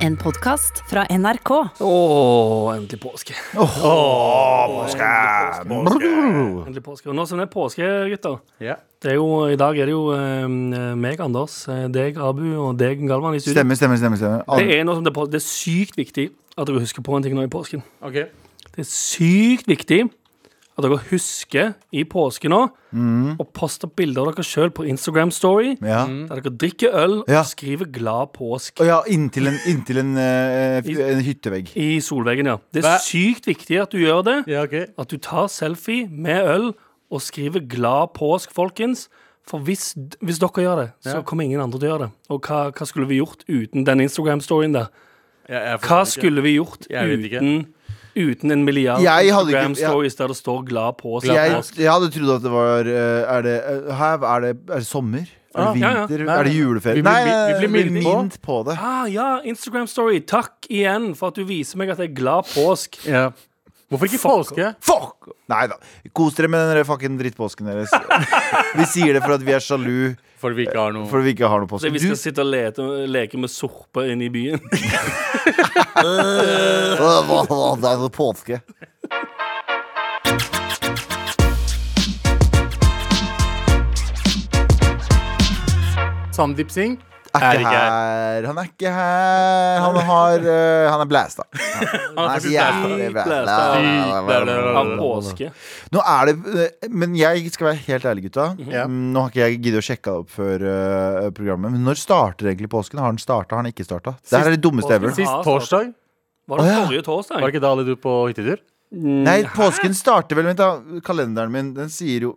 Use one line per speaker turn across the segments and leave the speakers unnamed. En podkast fra NRK.
Å, endelig påske. Endelig påske. Og nå som det er påske, gutter det er jo, I dag er det jo eh, meg, Anders, eh, deg, Abu og deg, Galvan, i studio.
Stemmer, stemmer, stemmer. stemmer. Al-
Det er, noe som det, er på- det er sykt viktig at dere husker på en ting nå i påsken.
Ok.
Det er sykt viktig at dere husker i påsken nå
Mm.
å poste bilder av dere sjøl på Instagram Story.
ja.
Der dere drikker øl
Ja.
og skriver 'glad påsk'
Og ja, inntil en, inntil en, eh, f- en hyttevegg.
i solveggen. ja Det er
Hva-
sykt viktig at du gjør det.
Ja, ok.
at du tar selfie med øl og skriver 'glad påsk', folkens. For hvis, hvis dere gjør det, så
Ja.
kommer ingen andre til å gjøre det. Og hva, hva skulle vi gjort uten den Instagram-storyen der?
Jeg, jeg
Hva
forstår ikke.
skulle vi gjort
Jeg vet ikke.
uten, uten en milliard
Jeg hadde ikke-
Instagram-stories der det står 'glad påsk'?
Jeg, jeg hadde trodd at det var eh, Er det, eh, her, er det, er det sommer? Er det
Ja, ja, ja.
vinter?
Nei,
Er det
vi
juleferie?
blir
Nei,
min- vi
vi
blir
blir
minnet på.
minnet på det.
Ah, ja, Instagram-story. Takk igjen for at du viser meg at jeg er glad påsk.
Ja. Hvorfor ikke påske?
Fuck! Nei da. Kos dere med den fucking drittpåsken deres. Vi sier det for at vi er sjalu
Fordi vi ikke har noe
fordi vi ikke har noe
Så
påske.
vi skal sitte og lete, leke med sorper inne i byen.
det er påske.
Sandeep Singh
Er
Er
ikke
ikke
her. Han er ikke her. Han, har, eh, han er blæsta. Han er så
faktisk
jævlig
sykt
blæsta.
Av påske.
Nå er det eh, Men jeg skal være helt ærlig, gutta.
Mhm.
Ja.
Mm, Nå har ikke jeg giddet å sjekke det opp før eh, programmet. Men når starter egentlig påsken? Har den starta? Har den ikke starta? Det her er det dummeste ever.
påske.
Sist torsdag
Var det
Å, ja.
forrige torsdag?
Var det ikke da alle du på hyttetur?
Nei, påsken starter vel Vent, da. Kalenderen min, den sier jo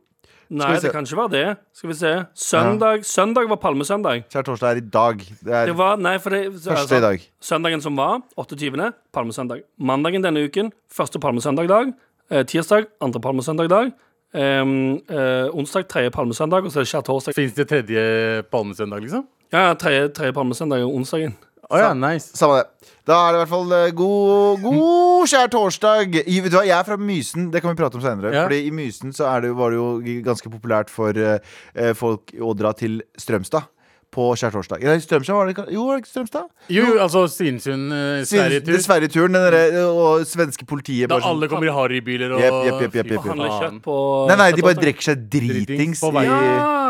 Nei,
vi se.
det kan ikke være det. Skal vi se. Søndag, søndag var palmesøndag.
Kjære torsdag er i dag. Det er
Det var, nei, for det, altså,
første i dag.
Søndagen som var, 28. palmesøndag. Mandagen denne uken, første palmesøndagdag. Eh, tirsdag, andre palmesøndagdag. Em, eh, onsdag, tredje palmesøndag, og så er det skjærtorsdag.
Fins det tredje palmesøndag, liksom?
Ja, ja, tredje, tredje palmesøndag er onsdagen.
Å ja, nice.
Samme det. Da er det i hvert fall eh, god, god kjær torsdag. I, vet du hva, Jeg er fra Mysen, det kan vi prate om senere.
Ja.
Fordi i Mysen så er det, jo- var det jo ganske populært for eh, eh, folk å dra til Strømstad på skjærtorsdag. Eller Strømstad, var det ikke? Jo, var det ikke Strømstad?
Jo, jo, altså Svinesund, eh,
Sverige-turen.
Sverigetur.
Sverige-turen, den derre, og svenske politiet
Da
bare sånn
alle kommer i harrybiler og
Jepp, jepp, jepp, jepp,
Fy
jepp, jepp.
faen.
Handler kjøtt på
Nei, nei, de bare
skjærtorsdag.
drikker seg dritings.
Dritings på vei.
i-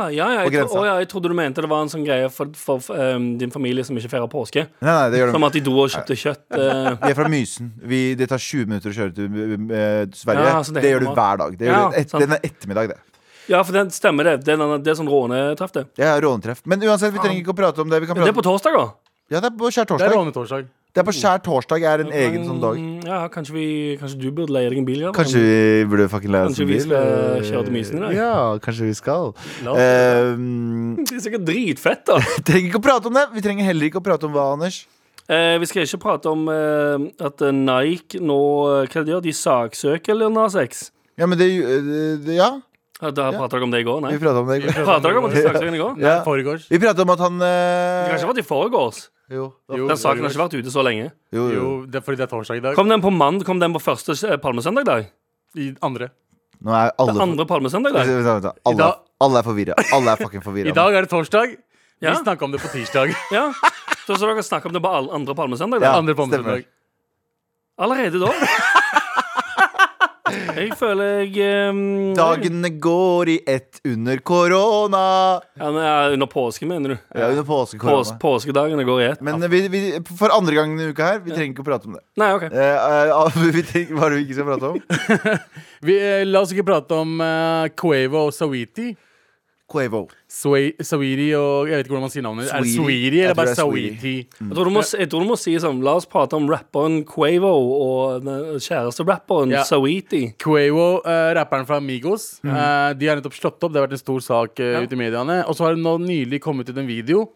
Ja, ja, ja,
på
jeg,
grensa.
tro, å, ja, jeg trodde du mente det var en sånn greie for, for em, din familie som ikke feirer påske.
Nei, nei, det gjør de
Som at de dro og kjøpte kjøtt. eh,
Vi er fra Mysen. Vi, det tar 20 minutter å kjøre til eh, Sverige.
Ja, så
det,
det
gjør du
kommer.
hver dag. Det gjør
Ja,
du et,
sant.
den er ettermiddag, det.
ja, for den stemmer det. Det er, den- det er sånn rånetreff, det.
Jeg har rånetreff. Men uansett, vi trenger ikke å prate om det. Vi kan
Det
prate
er på torsdag, da.
Ja, det er på skjær
Det er
torsdag.
rånetorsdag.
Det er på skjær torsdag er en egen sånn dag.
Mm, Ja, kanskje, vi, kanskje du burde leie deg en bil? Galvan?
Kanskje vi burde fucking leie oss
Kanskje
en
vi
bil?
skal
eh,
kjøre til Mysen i dag?
Ja, kanskje vi skal.
La oss-
Uh,
Det er sikkert dritfett, da.
trenger ikke å prate om det. Vi trenger heller ikke å prate om hva, Anders.
eh, vi skal ikke prate om eh, at eh, Nike nå eh, Hva de gjør de? Saksøker Lil Nas X?
Ja, men det, eh, det Ja,
Ja, Da
Ja.
prata dere om det i går, nei?
vi prater om det. i går.
Prata dere om at de saksøkte henne i går?
Ja.
Foregårs.
Vi prater om at han
Det kan
eh,
ikke ha vært i forgårs.
Jo.
Jo,
Den saken har ikke vært ute så lenge.
Jo, jo.
Jo, det er fordi det er torsdag i dag.
Kom den på mand, kom den på første eh, palmesøndag? dag?
I andre.
Nå er
Det
alle
andre palmesøndag? dag?
Vent, vent, vent.
I
Alle,
dag-
alle er forvirra. Alle er fucking forvirra.
I dag er det torsdag. Vi
Ja.
snakka om det på tirsdag.
ja. Så, så dere snakka om det på all- andre palmesøndag?
Ja.
da?
Andre palmesøndag.
Allerede da? Jeg føler jeg um,
Dagene går i ett under korona.
Ja, men, ja, under påsken, mener du?
Ja, under påskekorona.
Pås, påskedagene går i ett.
Men vi, vi, for andre gangen i uka her, vi trenger ikke å prate om det.
Nei, OK.
Eh, eh, vi trenger, hva er det vi ikke skal prate om?
Vi, eh, la oss ikke prate om eh, Quavo og Sawiti.
Quavo.
Sway, Sawiri og Jeg vet ikke hvordan man sier navnet. Er det
Sweetie.
Swiri
Jeg
eller
tror det
bare
er Mm. Sweetie.
Sawiti?
Jeg tror, du må, jeg tror du må si sånn La oss prate om rapperen Quavo og den eh, kjæreste rapperen
Ja.
Sawiti.
Quavo, eh, rapperen fra Amigos,
Mm.
eh, de har nettopp slått opp. Det har vært en stor sak eh,
Ja.
ute i mediene. Og så har det nå nylig kommet ut en video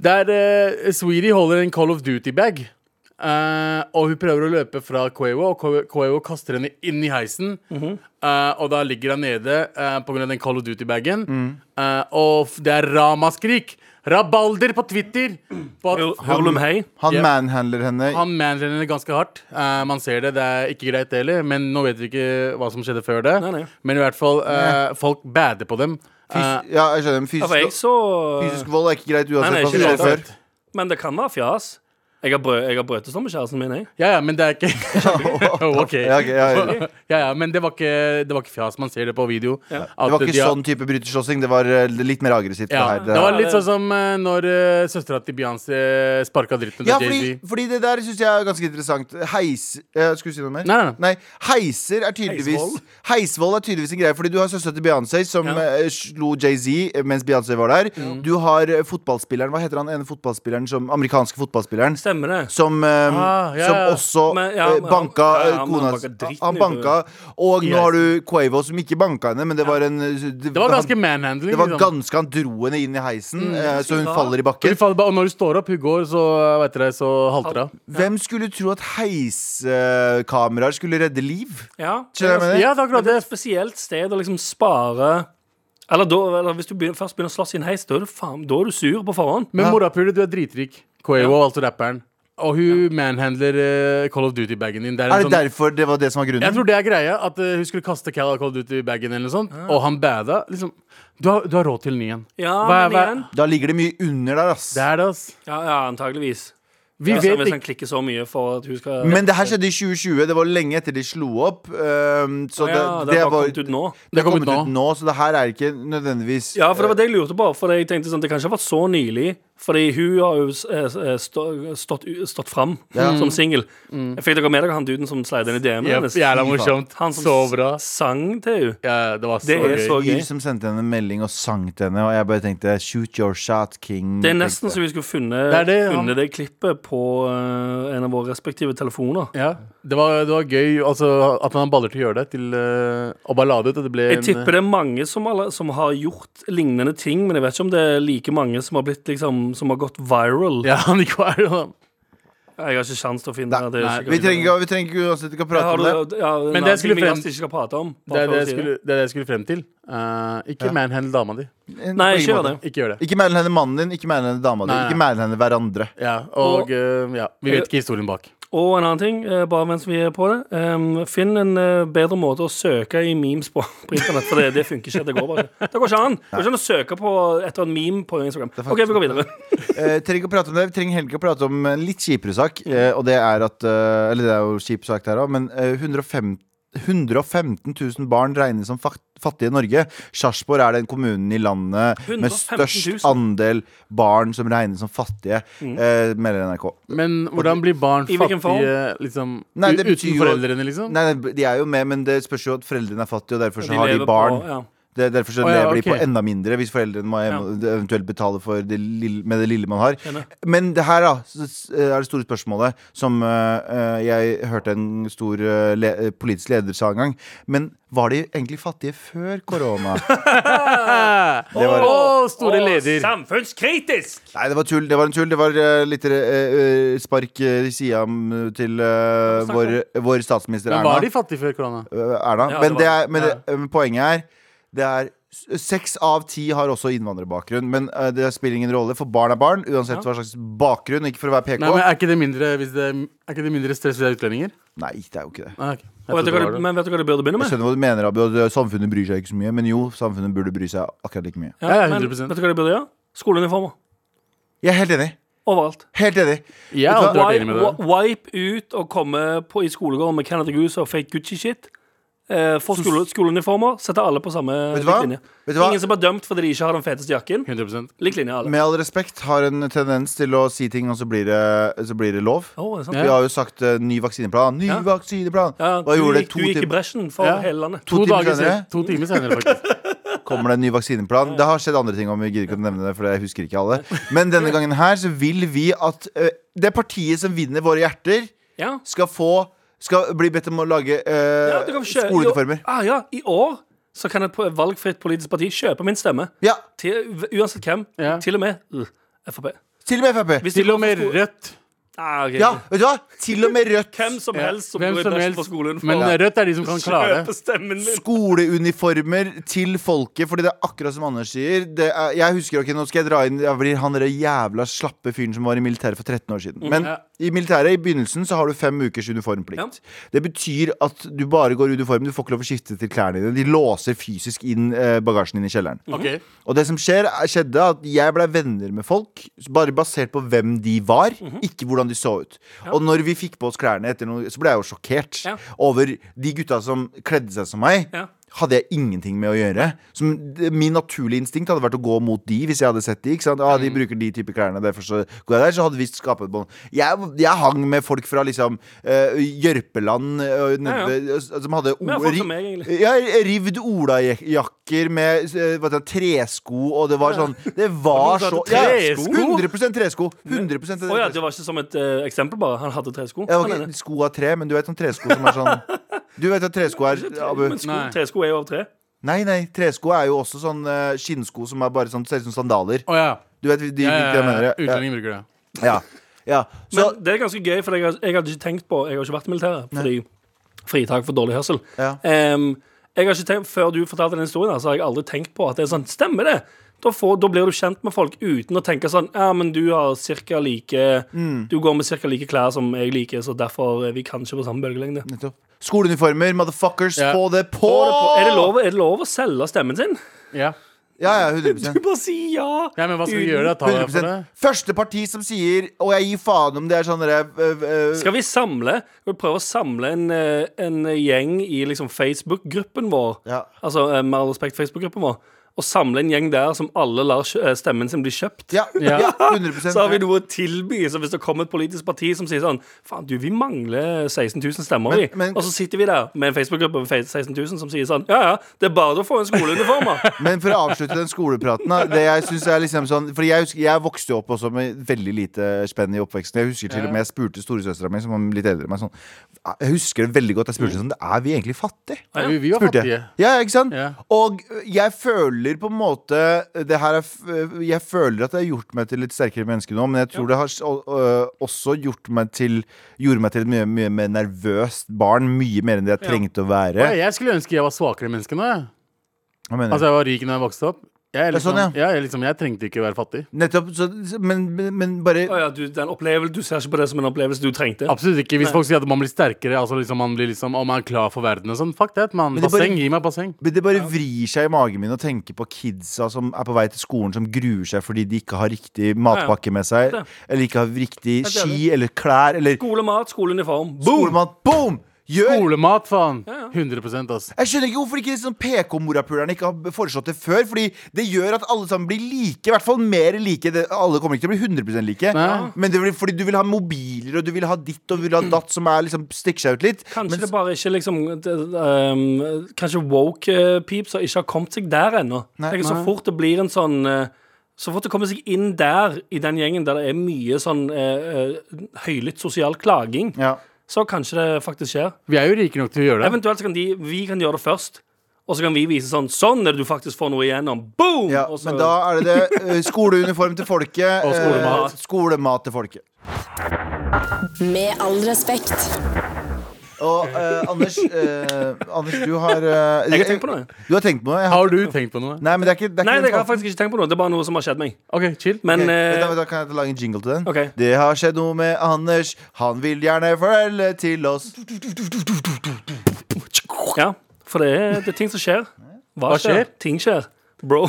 der uh, Sweetie holder en Call of Duty-bag. eh, og hun prøver å løpe fra Quavo, og Quavo- Quavo kaster henne inn i heisen.
Mhm.
Eh, og da ligger hun nede eh, på grunn av den Call of Duty-bagen.
Mm.
Eh, og f- det er ramaskrik! Rabalder på Twitter! På at
Hulum Hei.
Han
Yep.
manhandler henne.
Han manhandler henne ganske hardt. Eh, man ser det. Det er ikke greit, det heller. Men nå vet vi ikke hva som skjedde før det.
Nei, nei.
Men i hvert fall, eh, folk bader på dem. Eh,
Fys ja, jeg skjønner. men
Ja, for jeg
Fysisk,
så
fysisk vold er ikke greit
Nei,
uansett
nei,
hva som
ikke
skjer før.
Men det kan være fjas. Jeg har, brø jeg har brøtet sånn med kjæresten min, jeg.
Ja, ja, men det er ikke Oh, ok.
Ja, ok, ja, ja.
ja, ja, men det var ikke, det var ikke fjas. Man ser det på video.
Det var ikke sånn type bryterslåssing. Det var eh, litt mer aggressivt.
Ja,
det her.
det var litt sånn som eh, når uh, søstera til Beyoncé sparka dritten til
Ja, fordi,
Jay-Z.
fordi det der syns jeg er ganske interessant. Heis eh, Skulle du si noe mer?
Nei, nei,
Heiser er tydeligvis
Heisvoll.
Heisvoll er tydeligvis en greie. Fordi du har søstera til Beyoncé som
Ja.
eh, slo Jay-Z mens Beyoncé var der. Du har eh, fotballspilleren Hva heter han ene fotballspilleren som amerikanske fotballspilleren?
Stemmer det.
Som, eh,
Ah, ja, ja.
som også
Men, ja,
eh,
men-
banka
ja, ja,
eh,
men
kona
han banka dritten
Han
ut
banka. Og
i
nå har du Quavo som ikke banka henne, men det var en Det,
Det var ganske
han,
manhandling.
det var
liksom.
ganske Han dro henne inn i heisen, eh, så hun
Mm, Ja.
faller i
Og
bakken.
du faller bare- og når du står opp, hun går, så, eh, vet dere, så halter hun.
Hvem skulle tro at heiskameraer skulle redde liv?
Ja.
Skjønner du hva jeg mener?
Ja, det er
Men
akkurat
det er
det.
et spesielt sted å liksom spare Eller, da, eller hvis du begynner, først begynner å slåss i en heis, da er du, faen, da er du sur på forhånd.
Men
Ja.
morapuler, du er dritrik. Quavo, altså rapperen. Og hun manhandler eh, Call of Duty-bagen din. Det er en
Er det
sånn
derfor det var det som var
Jeg
grunnen?
tror det er greia, at eh, hun skulle kaste Cal Call Duty i bagen eller noe sånt, og han bada. Liksom, du, har, du har råd til ny en.
Ja,
Hva er-
men
hva-
igjen
Da ligger det mye under der, ass.
Det er det, ass.
Ja, ja antageligvis.
Vi
altså,
vet
hvis han
ikke.
klikker så mye for at hun skal
Men det her skjedde i 2020. Det var lenge etter de slo opp. ehm, så det,
ja,
det,
har bare
var,
kommet ut nå.
det har kommet
nå.
ut nå, så det her er ikke nødvendigvis
Ja, for det var det jeg lurte på. For jeg tenkte sånn, Det kan ikke ha vært så nylig. Fordi hun har jo eh, eh, stå, stått, stått fram som singel. Fikk dere med dere han duden som sleide inn i DM-en
Jepp, Mm. jævla morsomt.
Han som
så bra.
sang til henne.
Ja, det var så
Det er
gøy.
så-
fyr som sendte henne en melding og sang til henne, og jeg bare tenkte Shoot your shot, king.
Det er nesten så
tenkte
vi
jeg.
skulle funnet
Mm, Det er
det,
det, ja.
det klippet på eh, en av våre respektive telefoner.
Ja, det var, det var gøy altså, at man har baller til å gjøre det, til eh, å bare lade ut. Og det ble
Jeg tipper det er mange som, alle, som har gjort lignende ting, men jeg vet ikke om det er like mange som har, blitt, liksom, som har gått viral.
Ja, Nico er jo-
Jeg har ikke sjans til å finne det.
nei,
sikkert
Vi
ikke.
trenger ikke- vi trenger ikke uansett ikke å prate
Har
om
du-
det.
ja,
Men
nei,
det jeg
ting
skulle
vi
frem-
nesten ikke skal prate om.
det,
bare
er
for
det,
å
jeg
si det.
skulle, det er det jeg skulle frem til. Eh, ikke
Ja.
manhandle dama di.
En-
Nei,
på
ikke
ingen
gjør
måte.
det.
Ikke gjør det.
Ikke mæl henne mannen din, ikke mæl henne dama di,
Nei,
ikke
nei.
mæl henne hverandre.
Ja, og, eh, ja, vi vet ikke historien bak.
Og en annen ting, eh, bare mens vi er på det. em, finn en eh, bedre måte å søke i memes på, på internett, for det, det funker ikke. Det går bare ikke. Det går ikke an. Det går ikke an å søke på etter en meme på Instagram. OK,
er faktisk-
vi går videre.
Eh, trenger ikke å prate om det, vi trenger heller ikke å prate om en litt kjipere sak. Eh, og det er at eh, Eller det er jo kjip sak der òg, men eh, 105 115 000 barn regnes som fak- fattige i Norge. Sarpsborg er den kommunen i landet med
115 000.
størst andel barn som regnes som fattige,
Mm.
eh, melder NRK.
Men hvordan blir barn
I hvilken
fattige liksom,
Nei, det
u-
betyr
uten
jo-
foreldrene, liksom?
Nei, nei, de er jo med, men det spørs jo at foreldrene er fattige, og derfor så har de
lever
barn.
På, ja.
Det er derfor så
Å, ja,
lever de
ok.
på enda mindre hvis foreldrene må ev- eventuelt betale for det lille, med det lille man har.
Enig.
Men det her da, så s- er det store spørsmålet som eh, eh, jeg hørte en stor eh, le eh, politisk leder sa en gang. Men var de egentlig fattige før korona?
Å,
var-
store
Å,
leder!
Samfunnskritisk!
Nei, det var tull. Det var en tull. Det var eh, litt eh, eh, spark eh, i sida mm, til eh,
Snakk om-
vår, vår statsminister
Men
Erna.
var de fattige før korona?
Eh, Erna.
Ja,
men
det
det
var-
er, men det, men poenget er Det er s- Seks av ti har også innvandrerbakgrunn, men eh, det spiller ingen rolle, for barn er barn. Uansett hva slags bakgrunn, ikke for å være PK.
Nei, men Er ikke det mindre, hvis det, er ikke det mindre stress hvis det er utlendinger?
Nei, det er jo ikke det.
Nei, ok.
Og
Jeg
vet
trodde
du hva,
det
det-
var det.
men vet du hva det burde begynne
Jeg
med?
skjønner hva du mener, Abu. at, eh, Samfunnet bryr seg ikke så mye. Men jo, samfunnet burde bry seg akkurat like mye.
Ja, ja,
men
100%.
vet du hva det burde gjøre? Skoleuniformer.
Jeg er helt enig.
Overalt.
Helt enig.
Jeg har alltid vært enig
Wipe,
med det.
wi- wipe ut og komme på, i skolegården med Canada Goose og fake Gucci-shit. Eh, Få skole, skoleuniformer, sette alle på samme
Vet du
lik
hva?
linje.
Vet du hva?
Ingen som blir dømt fordi de ikke har den feteste jakken.
100%
Lik linje, alle.
Med all respekt har en tendens til å si ting, og så blir det, så blir det lov.
Å, er det sant?
Ja.
Vi har jo sagt eh, ny vaksineplan. Ny
Ja.
vaksineplan!
Ja,
Hva
du,
gjorde det
gikk,
to
du gikk i
timer?
bresjen for
Ja.
hele landet.
To
To,
timer
dager
senere?
senere. to timer senere, faktisk.
kommer det en ny vaksineplan. Det har skjedd andre ting, om vi gidder ikke å nevne det, for jeg husker ikke alle. Men denne gangen her så vil vi at ø, det partiet som vinner våre hjerter,
Ja.
skal få skal bli bedt om å lage ø,
Ja, du kan kjø-
skoleuniformer.
Jo, Ah, ja, I år så kan et po- valgfritt politisk parti kjøpe min stemme.
Ja,
Til, uansett hvem.
Ja.
Til og med uh, Frp.
til og med Frp.
Hvis de
Til og
går for
med
sko-
Rødt.
Ah, ok.
Ja, vet du hva? Til og med Rødt.
Hvem som helst som
Hvem
går i
som
bresjen
helst.
for skoleuniform.
Men eh, Rødt er de som kan klare.
Kjøpe stemmen min.
Skoleuniformer til folket, fordi det er akkurat som Anders sier. Det er, jeg husker ok, Nå skal jeg dra inn jeg blir han der jævla slappe fyren som var i militæret for 13 år siden. Men
Mm, ja.
i militæret i begynnelsen så har du fem ukers uniformplikt. Det betyr at du bare går i uniform. Du får ikke lov å skifte til klærne dine. De låser fysisk inn eh, bagasjen din i kjelleren.
Ok.
Og det som
Mhm.
skjer, er- skjedde, at jeg blei venner med folk bare basert på hvem de var, ikke hvordan hvordan de så ut. Og når vi fikk på oss klærne etter noe, så ble jeg jo sjokkert
Ja.
over de gutta som kledde seg som meg.
Ja.
Hadde jeg ingenting med å gjøre. Som, det- min naturlige instinkt hadde vært å gå mot de hvis jeg hadde sett de. Ikke sant? Ah, de
Mm.
bruker de type klærne, derfor så går jeg der. Så hadde vi skapet et bånd. Jeg, jeg hang med folk fra liksom eh, Jørpeland eh,
Ja, ja.
nede- som hadde
Men jeg har fått som meg, egentlig.
ja, rivd olajakker med eh, hva heter det, tresko, og det var sånn Det var
Noen
så
som
ja,
hadde tresko?
100 tresko. 100
Å ja, det var ikke som et eh, eksempel, bare. Han hadde tresko.
ja,
Han
ok,
ene.
sko av tre, men du vet sånn tresko som er sånn Du vet at tresko er Abu.
Men sko,
Nei.
tresko er jo av tre.
Nei, nei, tresko er jo også sånn eh, skinnsko som er bare sånn, ser ut som sandaler.
Å ja.
Du vet de, de,
ja, ja,
jeg mener?
ja.
Ja,
Utlendinger bruker det.
ja, ja. Så,
Men det er ganske gøy, for jeg, har- jeg hadde ikke tenkt på Jeg har ikke vært i militæret fordi fritak for dårlig hørsel.
Ja.
Em, jeg har ikke tenkt, Før du fortalte den historien, her, så har jeg aldri tenkt på at det er sånn. Stemmer det? Da, får, da blir du kjent med folk uten å tenke sånn Ja, men du har cirka like
Mm.
Du går med cirka like klær som jeg liker, så derfor er vi kanskje på samme bølgelengde.
nettopp. Skoleuniformer, motherfuckers,
Ja.
få det på!
Er det, på, er, det lov, er det lov å selge stemmen sin?
Ja.
Ja, ja, 100
Du bare si ja!
ja, men hva skal vi gjøre? da? Ta deg for
100
det?
Første parti som sier 'og jeg gir faen om det er sånn derre øh, øh,
Skal vi samle Skal vi prøve å samle en, eh, en gjeng i liksom Facebook-gruppen vår?
Ja.
Altså eh, med all respekt Facebook-gruppen vår. Og samle en gjeng der som alle lar kjø- eh, stemmen sin bli kjøpt.
Ja,
Ja.
ja, 100
Så har vi noe å tilby. Så hvis det kommer et politisk parti som sier sånn Faen, du, vi mangler 16 000 stemmer,
Men-
vi.
men-
og så sitter vi der med en Facebook-gruppe med fe- 16 000 som sier sånn Ja, ja, det er bare å få en skoleuniform, da.
Men for å avslutte den skolepraten da, Det jeg synes er liksom sånn For jeg, husker, jeg vokste jo opp også med veldig lite spenn i oppveksten Jeg husker til og med jeg spurte storesøsteren min Som var litt eldre enn meg sånn Jeg husker det veldig godt Jeg spurte
Mm.
sånn Er vi egentlig fattige?
Ja, vi, vi var
Spurte
fattige.
jeg Ja, ikke sant?
Ja.
Og ø, jeg føler på en måte det her er, f- ø, Jeg føler at det har gjort meg til litt sterkere menneske nå Men jeg tror det har s- o- ø, også gjort meg til Gjorde meg til et mye, mye mer nervøst barn Mye mer enn det jeg
Ja.
trengte å være
Ja, jeg skulle ønske jeg var svakere menneske nå. Jeg.
Hva mener du?
Altså, jeg var rik da jeg vokste opp. Jeg, er
Ja,
liksom,
sånn,
ja. jeg, er liksom, jeg trengte ikke være fattig.
Nettopp, så, men, men- men bare
Å ja, du, den opplevelsen, du ser ikke på det som en opplevelse du trengte.
Absolutt ikke. Hvis folk sier at man blir sterkere, altså liksom man blir liksom, og man er klar for verden og sånn, fuck that, man.
Men det er bare-
Basseng, gi meg basseng.
Men det bare vrir seg i magen min å tenke på kidsa som er på vei til skolen, som gruer seg fordi de ikke har riktig matpakke med seg,
Det.
eller ikke har riktig
Helt enig.
ski eller klær eller
Skolemat, skoleuniform. Boom!
skolemat. Boom! Gjør!
Skolemat, faen.
Ja, ja.
100 ass.
Jeg skjønner ikke hvorfor ikke sånn PK-morapulerne ikke har foreslått det før. Fordi det gjør at alle sammen blir like. I hvert fall mer like. Det, alle kommer ikke til å bli 100 like.
Nei.
Men det blir, fordi du vil ha mobiler, og du vil ha ditt og du vil ha datt som er liksom stikker seg ut litt.
Kanskje
Men
det bare ikke liksom det, um, Kanskje woke-peepser ikke har kommet seg der ennå.
Nei,
Tenk Så
nei.
fort det blir en sånn eh, Så fort det kommer seg inn der, i den gjengen der det er mye sånn eh, eh, høylytt sosial klaging,
ja.
så kanskje det faktisk skjer.
Vi er jo rike nok til å gjøre det.
Eventuelt så kan de, vi kan gjøre det først. Og så kan vi vise sånn Sånn er det du faktisk får noe igjennom. Boom!
Ja,
Og så-
men da er det det. eh, Skoleuniform til folket.
Og skolemat.
eh, skolemat til folket.
Med all respekt.
Og eh, Anders, eh, Anders, du har eh,
Jeg har tenkt på noe.
Du har tenkt på noe? Jeg har,
Har du tenkt på noe?
nei, men det er ikke, det er
Nei,
ikke
jeg har faktisk ikke tenkt på noe. Det er bare noe som har skjedd meg.
OK, chill.
Men
Ok,
eh,
vent da, vent da, Kan jeg lage en jingle til den?
Ok.
Det har skjedd noe med Anders. Han vil gjerne fortelle til oss.
Ja, for det er, det er ting som skjer. Hva,
Hva skjer?
Ting skjer. Bro.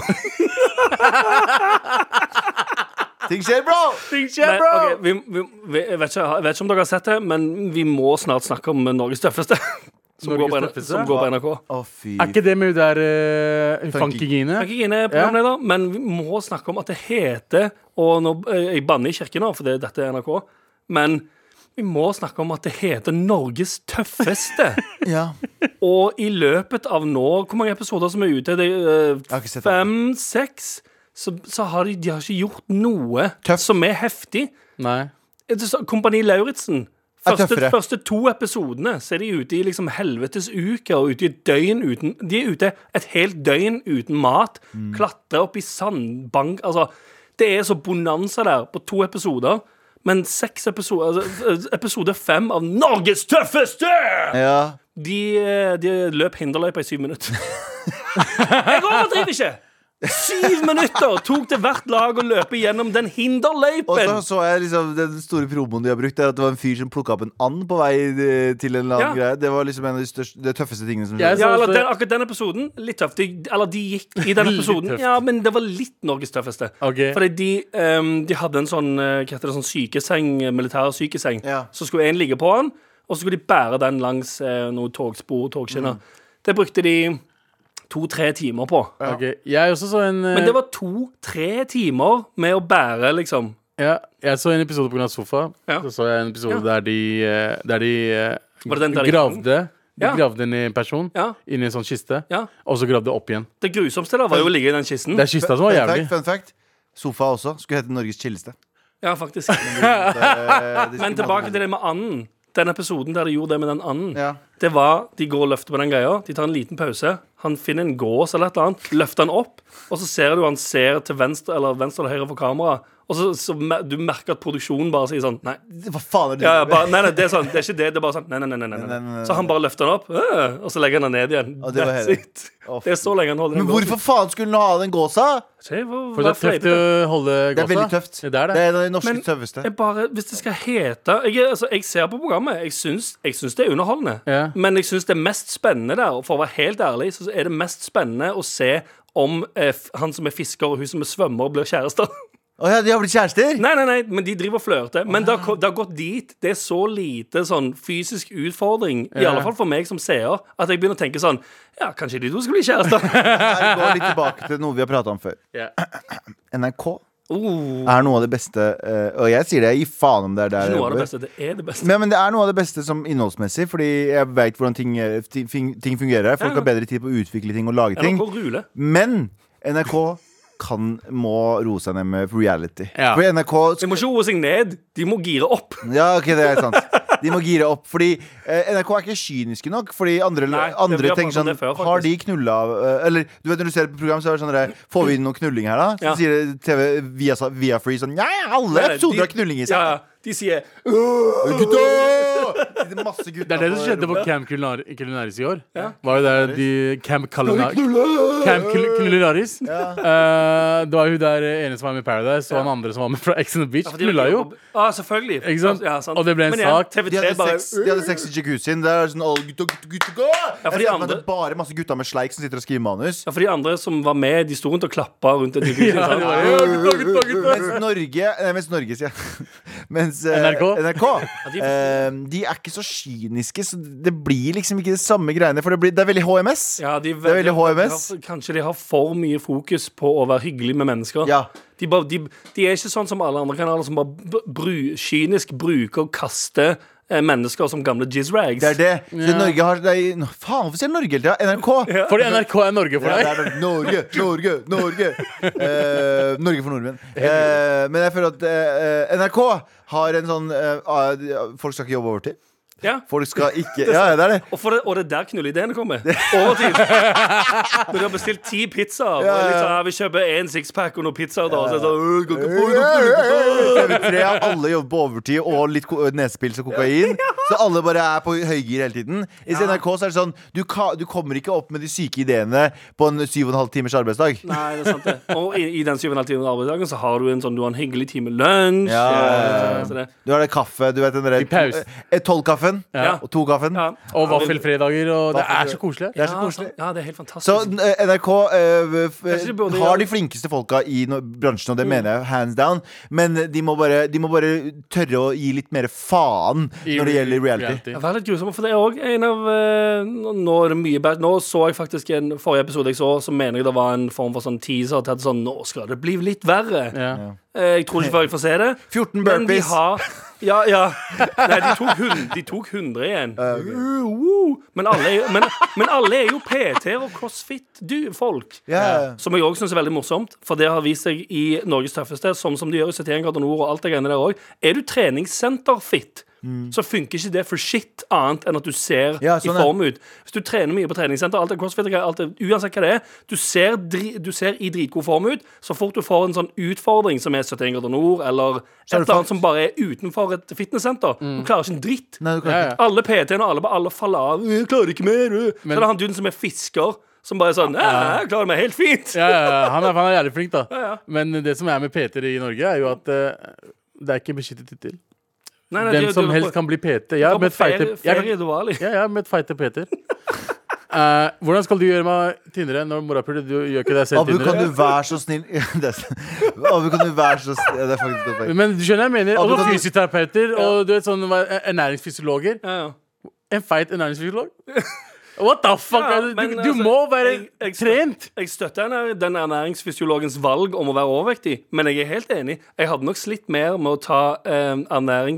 Ting skjer, bro!
Nei, ok, vi, vi, vi, jeg, vet ikke, jeg vet ikke om dere har sett det, men vi må snart snakke om Norges tøffeste. Som,
Norges
går, på,
tøffeste?
tøffeste? som går på NRK.
Å, fy
Er ikke det med hun der uh,
Funky.
funkygine?
Jeg er ikke inne programleder, men vi må snakke om at det heter Og nå, eh, jeg banner i kirken nå, for det, dette er NRK. Men vi må snakke om at det heter Norges tøffeste.
Ja.
Og i løpet av nå Hvor mange episoder som er ute? Det, er, eh,
har ikke sett alt.
fem, seks? Så, så har de, de har ikke gjort noe
Tøff.
som er heftig.
Nei.
Eh, det sa- Kompani Lauritzen.
Er
Første,
tøffere.
første to episodene så er de ute i liksom helvetes uke og ute i et døgn uten De er ute et helt døgn uten mat.
Mm.
Klatre opp i sandbank Altså, det er så bonanza der på to episoder. Men seks episoder altså, eh, Episode fem av Norges tøffeste!
ja.
De, eh, de løp hinderløypa i syv minutter. Jeg overdriver ikke! Syv minutter tok det hvert lag å løpe gjennom den
Og så
hinderløypen!
så jeg liksom den store promoen de har brukt, er at det var en fyr som plukka opp en and på vei eh, til en eller annen
Ja.
greie. Det var liksom en av de største, det tøffeste tingene som
Jeg
skjedde.
Ja, eller den, akkurat den episoden. Litt tøft. De, eller de gikk i den
Veldig
episoden.
tøft.
Ja, men det var litt Norges tøffeste.
Ok.
Fordi de, ehm, de hadde en sånn eh, Hva heter det, sånn sykeseng, eh, militær sykeseng.
Ja.
Så skulle én ligge på den, og så skulle de bære den langs eh, noen togspor og togskinner.
Mm.
Det brukte de to-tre timer på.
Ok, Jeg også så en eh,
Men det var to-tre timer med å bære, liksom.
eh, ja, Jeg så en episode pga. sofa.
Ja.
Så så jeg en episode
Ja.
der de, eh, der de eh,
Var det den der de-
gravde De
Ja.
gravde ned en person
Ja.
inni en sånn kiste,
Ja.
og så gravde opp igjen.
Det grusomste der var jo å ligge i den kisten.
Det er kista som var
Fun
jævlig.
fact, fun fact. Sofa også. Skulle hete Norges chilleste. eh,
Ja, faktisk. Men tilbake til det med anden. Den episoden der de gjorde det med den anden,
Ja.
det var De går og løfter på den greia. De tar en liten pause. Han finner en gås eller et eller annet, løfter han opp, og så ser du han ser til venstre eller venstre eller høyre for kamera, og så, så mer- du merker at produksjonen bare sier sånn Nei.
Hva faen er det?
Ja, ja, bare, nei, nei, det er sånn, det er ikke det. Det er bare sånn nei, nei, nei, nei, nei,
Nei, nei, nei,
Så han bare løfter den opp, øh, og så legger han den ned igjen.
Og det var
That's
hele.
it.
Å,
Det er så lenge han holder
Men hvorfor faen skulle han ha den gåsa?
Se, hvor-
For det er
hvorfor
tøft å holde gåsa.
Det er veldig tøft.
Det er det.
en av de norske
Men-
tøffeste.
Jeg bare, hvis det skal hete Jeg, er- altså, jeg ser på programmet. Jeg syns, jeg syns det er underholdende.
Ja.
Men jeg syns det mest spennende der, og for å være helt ærlig, så er det mest spennende å se om eh, f- han som er fisker og hun som er svømmer, blir kjærester.
Å ja, de har blitt kjærester?
nei, nei, nei, men de driver og flørter. Men det har, ko- det har gått dit. Det er så lite sånn fysisk utfordring, i
Ja.
alle fall for meg som seer, at jeg begynner å tenke sånn Ja, kanskje de to skal bli kjærester.
Her går litt tilbake til noe vi har prata om før.
Ja.
NRK
oh,
er noe av det beste eh, Og jeg sier det, jeg gir faen om det er der jeg
noe av det
jobber.
beste. Det er det beste.
Men, men det er noe av det beste som innholdsmessig, fordi jeg veit hvordan ting, eh, ting, ting fungerer. Folk har bedre tid på å utvikle ting og lage ting.
NRK ruler.
Men NRK kan, må roe seg ned med reality.
Ja.
For NRK
De må ikke roe seg ned. De må gire opp.
Ja, ok, det er sant. De må gire opp. Fordi eh, NRK er ikke kyniske nok. Fordi andre,
Nei, det- vi
andre
har
tenker
pratet om
sånn
det før, faktisk.
Har de knulla eh, Eller du vet når du ser på program, så er det sånn der, Får vi inn noe knulling her, da? Så
Ja.
sier TV via, via Free sånn Ja, ja, alle
Nei,
episoder
de-
har knulling
Ja,
i seg.
ja. de sier
Gutta! Det er masse gutta
Det er det
på
som skjedde på
rommet.
Camp Culinar- Culinaris i år.
Ja.
Var jo der de Camp Culinar- Camp Cul- Culinaris. Eh, det var jo hun der eh, ene som var med i Paradise, og han andre som var med fra Ex on the Beach. Knulla jo.
Ja, selvfølgelig.
Ikke sant?
Ja, sant.
Og det ble en
Men igjen,
sak.
De hadde,
TV3 bare
sex, de hadde sex i jacuzzien. Der er det sånn alle gutta, gutta, gutta, gå!
for de
Jeg ser for meg at det
andre-
er bare masse gutta med sleik som sitter og skriver manus.
ja, For de andre som var med, de sto rundt og klappa rundt en jacuzzi.
Ja,
sant?
det var jo-
Mens Norge Nei, mens Norge, sier jeg. Mens eh,
NRK.
NRK
de-
eh, De er ikke så kyniske, så det blir liksom ikke de samme greiene. For det, blir, det er veldig HMS.
Ja, de,
Det er veldig HMS.
de har- Kanskje de har for mye fokus på å være hyggelig med mennesker.
Ja.
De, bare, de, de er ikke sånn som alle andre kanaler, som bare b- bru, kynisk bruker og kaster eh, mennesker som gamle jizz rags.
Det er det. Så Norge har det er, nå, Faen, hvorfor sier jeg Norge hele tida? NRK. Ja.
Fordi NRK er Norge for
det
deg.
er Norge, Norge, Norge! Norge Eh, Norge for nordmenn. Eh, men jeg føler at eh, NRK har en sånn eh, ah, Folk skal ikke jobbe overtid.
Ja.
Folk skal ikke Ja, ja, det er det.
Og, for det, og det er der knulleideene kommer. Overtid. Når du har bestilt ti pizzaer, og
Ja, ja.
liksom, ja, vi kjøper én sixpack og noen pizzaer, da. Og så er det sånn, «Øh, kan ikke få noe
TV3 har alle jobbet på overtid og litt ko- nesepils og kokain. Så alle bare er på høygir hele tiden. I NRK så er det sånn du, ka, du kommer ikke opp med de syke ideene på en syv og en halv timers arbeidsdag.
Nei, det er sant det. Og i, i den 7,5 timen arbeidsdagen så har du en sånn Du har en hyggelig time lunsj.
Ja, ja,
eh, så det-
Du har det kaffe, du vet den
I pause.
derre Tolvkaffen
Ja.
og to-kaffen.
ja.
Og vaffelfredager, og det
Vaffelfredag.
er så koselig.
Det er så
Ja,
koselig.
sant. Ja, det er helt fantastisk.
Så eh, NRK eh, f-
Kanskje de burde
har
gjøre- Mm.
de flinkeste folka i no bransjen, og det mener jeg hands down, men de må bare, de må bare tørre å gi litt mer faen
I
når det gjelder reality.
Ja, det er litt grusomt, for det er òg en av eh, nå- Nå er det mye bad. Nå så jeg faktisk en forrige episode jeg så, så mener jeg det var en form for sånn teaser til at sånn Nå skal det bli litt verre.
Ja.
Eh, Jeg tror ikke før jeg får se det.
14
Men de
burpees.
har Ja, ja. Nei, de tok, hun, de tok 100 igjen. Uh, woo. Men, alle er, jo- men, men alle er jo PT-er og crossfit-folk.
Ja.
Som jeg òg syns er veldig morsomt, for det har vist seg i Norges tøffeste. Sånn som de gjør i 71 grader nord og alt det greiene der også. Er du treningssenter-fit, så funker ikke det for shit annet enn at du ser
Mm. Ja, sånn
i
er.
form ut. Hvis du trener mye på treningssenter, alt er crossfit, og greier, alt er, uansett hva det er, du ser, dri, du ser i dritgod form ut. Så fort du får en sånn utfordring som er 71 grader nord, eller et
er du
eller
fucked.
annet som bare er utenfor et fitnesssenter, du klarer ikke en dritt.
Nei, du kan
Ja,
ikke
ja.
Alle PT-ene og alle, alle faller av. «Jeg 'Klarer ikke mer', øh». Så
Men-
det er han duden som er fisker, som bare er sånn «Ja, Jeg klarer meg helt fint.
Ja, ja, ja. han, er, han er jævlig flink, da.
ja.
Men det som er med PT i Norge, er jo at eh, det er ikke beskyttet tittel.
Nei, nei,
Hvem
du-
som
du-
helst kan bli PT. Jeg
du
har
kan
møtt
på ferie,
feite jeg,
ferie, du var litt.
ja, jeg har møtt feite Peter. Eh, hvordan skal du gjøre meg tynnere når morapuler? Du gjør ikke deg selv
Abu, kan
tynnere.
du være så snill Det er s- Abu, kan du være så snill Det er faktisk et godt poeng.
Men du skjønner jeg mener.
Abu,
Og
kan du-
fysioterapeuter og du vet, sånn, hva- ernæringsfysiologer.
Ja, ja.
En feit ernæringsfysiolog? What the fuck?
Ja,
er det?
men
du, du
altså,
må være
jeg- jeg-
trent!
Jeg støtter den, den ernæringsfysiologens valg om å være overvektig, men jeg er helt enig. Jeg hadde nok slitt mer med å ta eh,